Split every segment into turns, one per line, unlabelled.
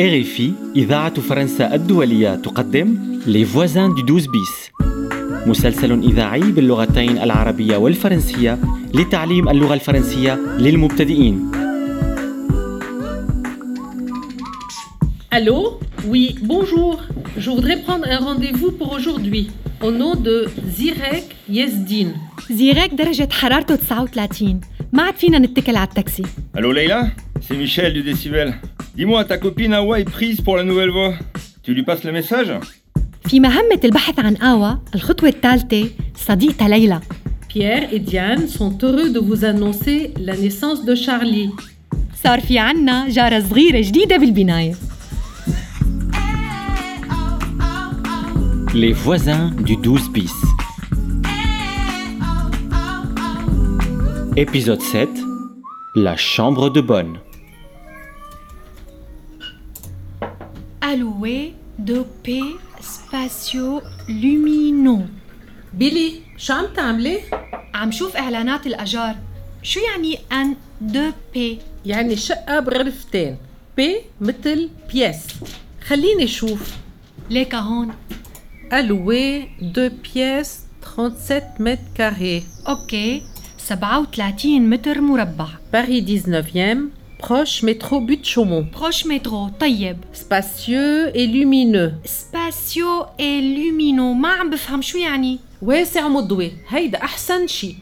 RFI إذاعة فرنسا الدولية تقدم Les voisins du 12 bis مسلسل إذاعي باللغتين العربية والفرنسية لتعليم اللغة الفرنسية للمبتدئين
Allô Oui, bonjour. Je voudrais prendre un rendez-vous pour aujourd'hui au nom de Zirek Yezdin.
زيراك درجة حرارته 39 ما عاد فينا نتكل على التاكسي
Allô Leïla C'est Michel du Décibel. Dis-moi, ta copine Hawa est prise pour la nouvelle voix. Tu lui passes le message
في مهمة البحث عن آوى الخطوة الثالثة صديقتها ليلى
Pierre et Diane sont heureux de vous annoncer la naissance de Charlie.
صار في عنا جارة صغيرة جديدة بالبناية
Les voisins du 12 bis Épisode 7 La chambre de bonne
alloué, dopé, spatio, lumineux
Billy, شو عم تعملي؟
عم شوف إعلانات الأجار شو يعني أن دبي
يعني شقة بغرفتين بي مثل بيس خليني شوف
ليك هون
alloué 2 pièces 37 mètres carrés
أوكي 37 متر مربع
Paris 19e proche métro butte chaumont
بروش مترو طيب
spacieux et lumineux
سباسيو إي لومينو ما عم بفهم شو يعني
واسع مضوي هيدا أحسن شي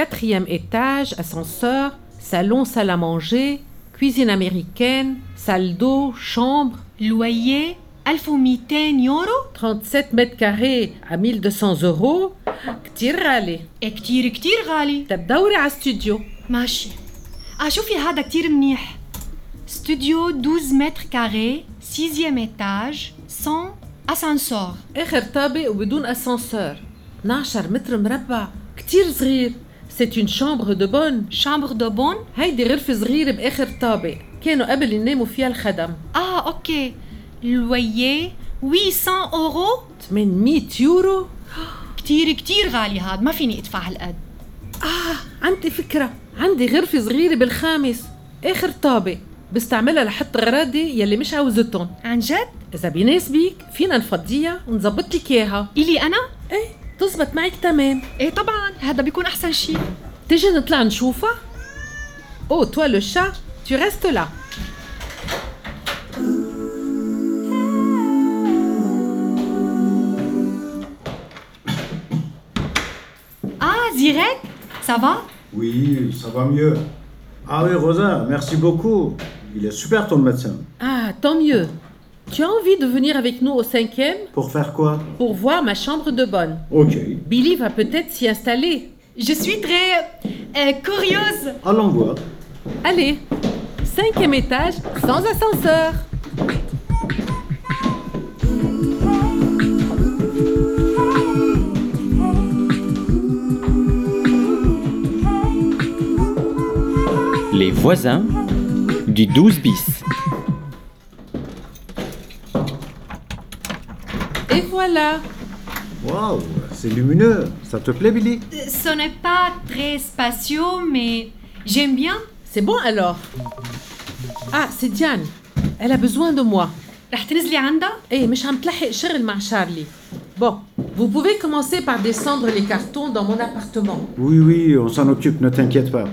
quatrième étage ascenseur salon salle à manger cuisine américaine salle d'eau chambre
لوية 1200 يورو
37 متر كاري à 1200 euros كتير غالي
إيه كتير كتير غالي
طب دوري على استوديو
ماشي آه شوفي هذا كتير منيح استوديو 12 متر كاري 6 étage sans ascenseur
آخر طابق وبدون أسانسور 12 متر مربع كتير صغير سيت اون شامبر دو بون
شامبر دو بون
هيدي غرفة صغيرة بآخر طابق كانوا قبل يناموا فيها الخدم
اه اوكي لويي 800 اورو
800 يورو
كتير كتير غالي هاد ما فيني ادفع هالقد
آه عندي فكرة عندي غرفة صغيرة بالخامس آخر طابق بستعملها لحط غراضي يلي مش عاوزتهم
عن جد
إذا بيناسبك فينا نفضيها ونظبط لك إياها
الي انا
إيه تزبط معك تمام
ايه طبعا هذا بيكون احسن شيء
تيجي نطلع نشوفها Oh, أو توا لو شا tu restes là
اه زيرك سافا
Oui, ça va mieux. Ah oui, Rosa, merci beaucoup. Il est super ton médecin.
Ah, tant mieux. Tu as envie de venir avec nous au cinquième
Pour faire quoi
pour voir ma chambre de bonne.
Ok.
Billy va peut-être s'y installer.
Je suis très euh, curieuse.
Allons voir.
Allez, cinquième étage, sans ascenseur.
Les voisins du 12 bis
Et voilà.
Waouh, c'est lumineux. Ça te plaît, Billy
Euh, Ce n'est pas très spacieux, mais j'aime bien.
C'est bon alors. Ah, c'est Diane. Elle a besoin de moi.
رح تنزلي عندها؟
Eh, مش عم تلحق شغل مع Charlie. Bon, vous pouvez commencer par descendre les cartons dans mon appartement.
Oui, oui, on s'en occupe, ne t'inquiète pas.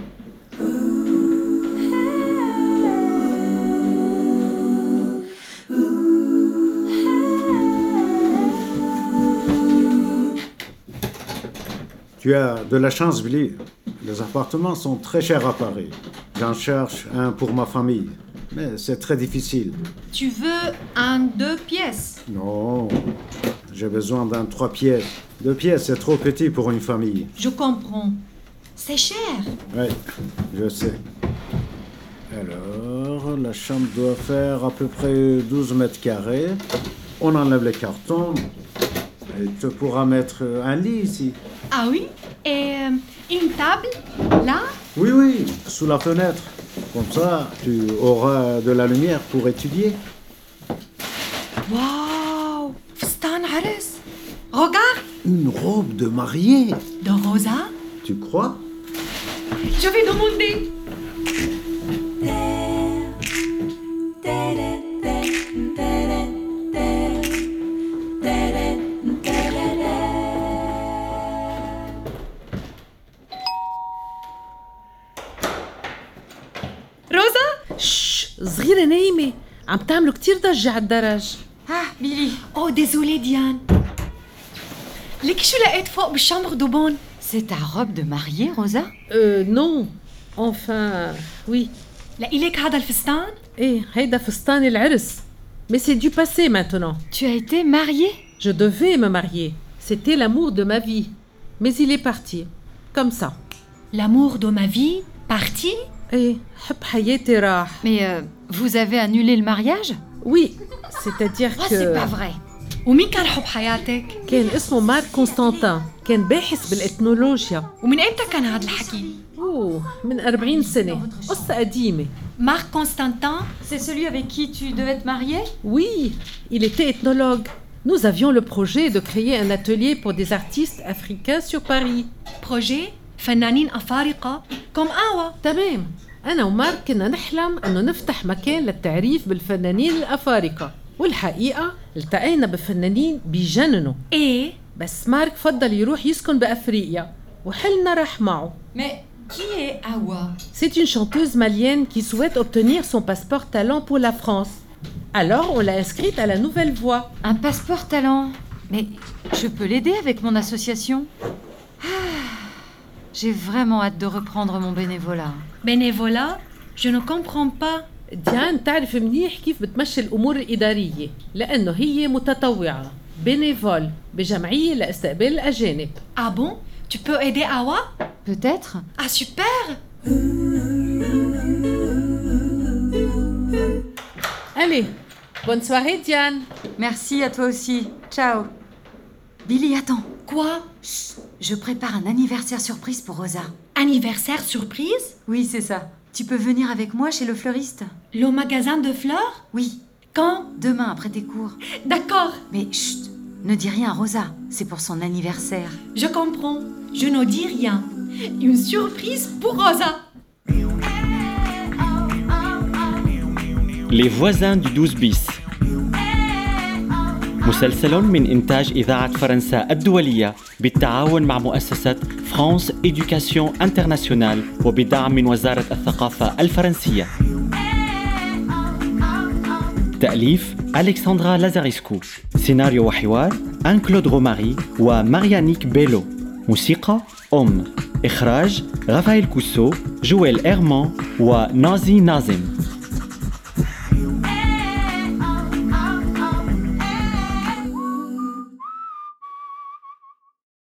Tu as de la chance, Billy. Les appartements sont très chers à Paris. J'en cherche un pour ma famille. Mais c'est très difficile.
Tu veux un deux pièces.
Non, j'ai besoin d'un trois pièces. Deux pièces, c'est trop petit pour une famille.
Je comprends. C'est cher.
Oui, je sais. Alors, la chambre doit faire à peu près 12 mètres carrés. On enlève les cartons. Et tu pourras mettre un lit ici.
Ah oui Et euh, une table Là
Oui, oui, sous la fenêtre. Comme ça, tu auras de la lumière pour étudier.
Waouh Fstan Harris Regarde
Une robe de mariée,
De Rosa
tu crois
Je vais demander
Thank
أنا نايمة عم تعملوا كتير ضجة على الدرج
Ah,
اه بيلي اوه ديزولي ديان لك شو لقيت فوق بالشامبر دو بون
C'est ta robe de mariée, Rosa
أه نو أنفان وي
لقي لك هذا الفستان
إيه هيدا فستان العرس Mais c'est du passé maintenant.
Tu as été mariée
Je devais me marier. C'était l'amour de ma vie. Mais il est parti. Comme ça. Eh,
لامور دو ما في بارتي
إيه حب حياتي راح.
Mais euh, vous avez annulé le mariage
Oui, c'est-à-dire
Oh, c'est
que
pas vrai
ومين كان حب حياتك
كان اسمه مارك كونستانتان كان باحث بالإثنولوجيا.
ومن امتى كان هذا الحكي
Oh.
أوه من 40 سنة. قصة قديمة.
مارك كونستانتان
C'est celui avec qui tu devais te marier
Oui, il était ethnologue. Nous avions le projet de créer un atelier pour des artistes africains sur Paris.
بروجي فنانين افارقه كوم اوا
تمام أنا ومارك كنا نحلم أنه نفتح مكان للتعريف بالفنانين الأفارقة والحقيقة التقينا بفنانين بيجننوا
ايه
بس مارك فضل يروح يسكن بأفريقيا وحلنا راح معه
Mais qui est Awa
C'est une chanteuse malienne qui souhaite obtenir son passeport talent pour la France. Alors on l'a inscrite à la nouvelle voie.
Un passeport talent. Mais je peux l'aider avec mon association Ah, J'ai vraiment hâte de reprendre mon bénévolat.
bénévolat je ne comprends pas
ديان تعرف منيح كيف بتمشي الأمور الإدارية لأنه هي متطوعة بنيفول بجمعية لاستقبال الأجانب
ah bon tu peux aider awa
Peut-être
ah super
ألي بون سواري ديان
Merci à toi aussi. Ciao. Billy, attends.
quoi
Chut, je prépare un anniversaire surprise pour Rosa.
anniversaire surprise
Oui, c'est ça. Tu peux venir avec moi chez le fleuriste
le magasin de fleurs
Oui,
quand
demain après tes cours.
d'accord
Mais chut, ne dis rien à Rosa. C'est pour son anniversaire.
je comprends je ne dis rien une surprise pour Rosa
Les voisins du 12 bis مسلسل من إنتاج إذاعة فرنسا الدولية بالتعاون مع مؤسسة فرانس إدوكاسيون انترناسيونال وبدعم من وزارة الثقافة الفرنسية تأليف ألكسندرا لازاريسكو سيناريو وحوار أن كلود غوماري وماريانيك بيلو موسيقى أم إخراج رافائيل كوسو جويل إيرمان ونازي نازم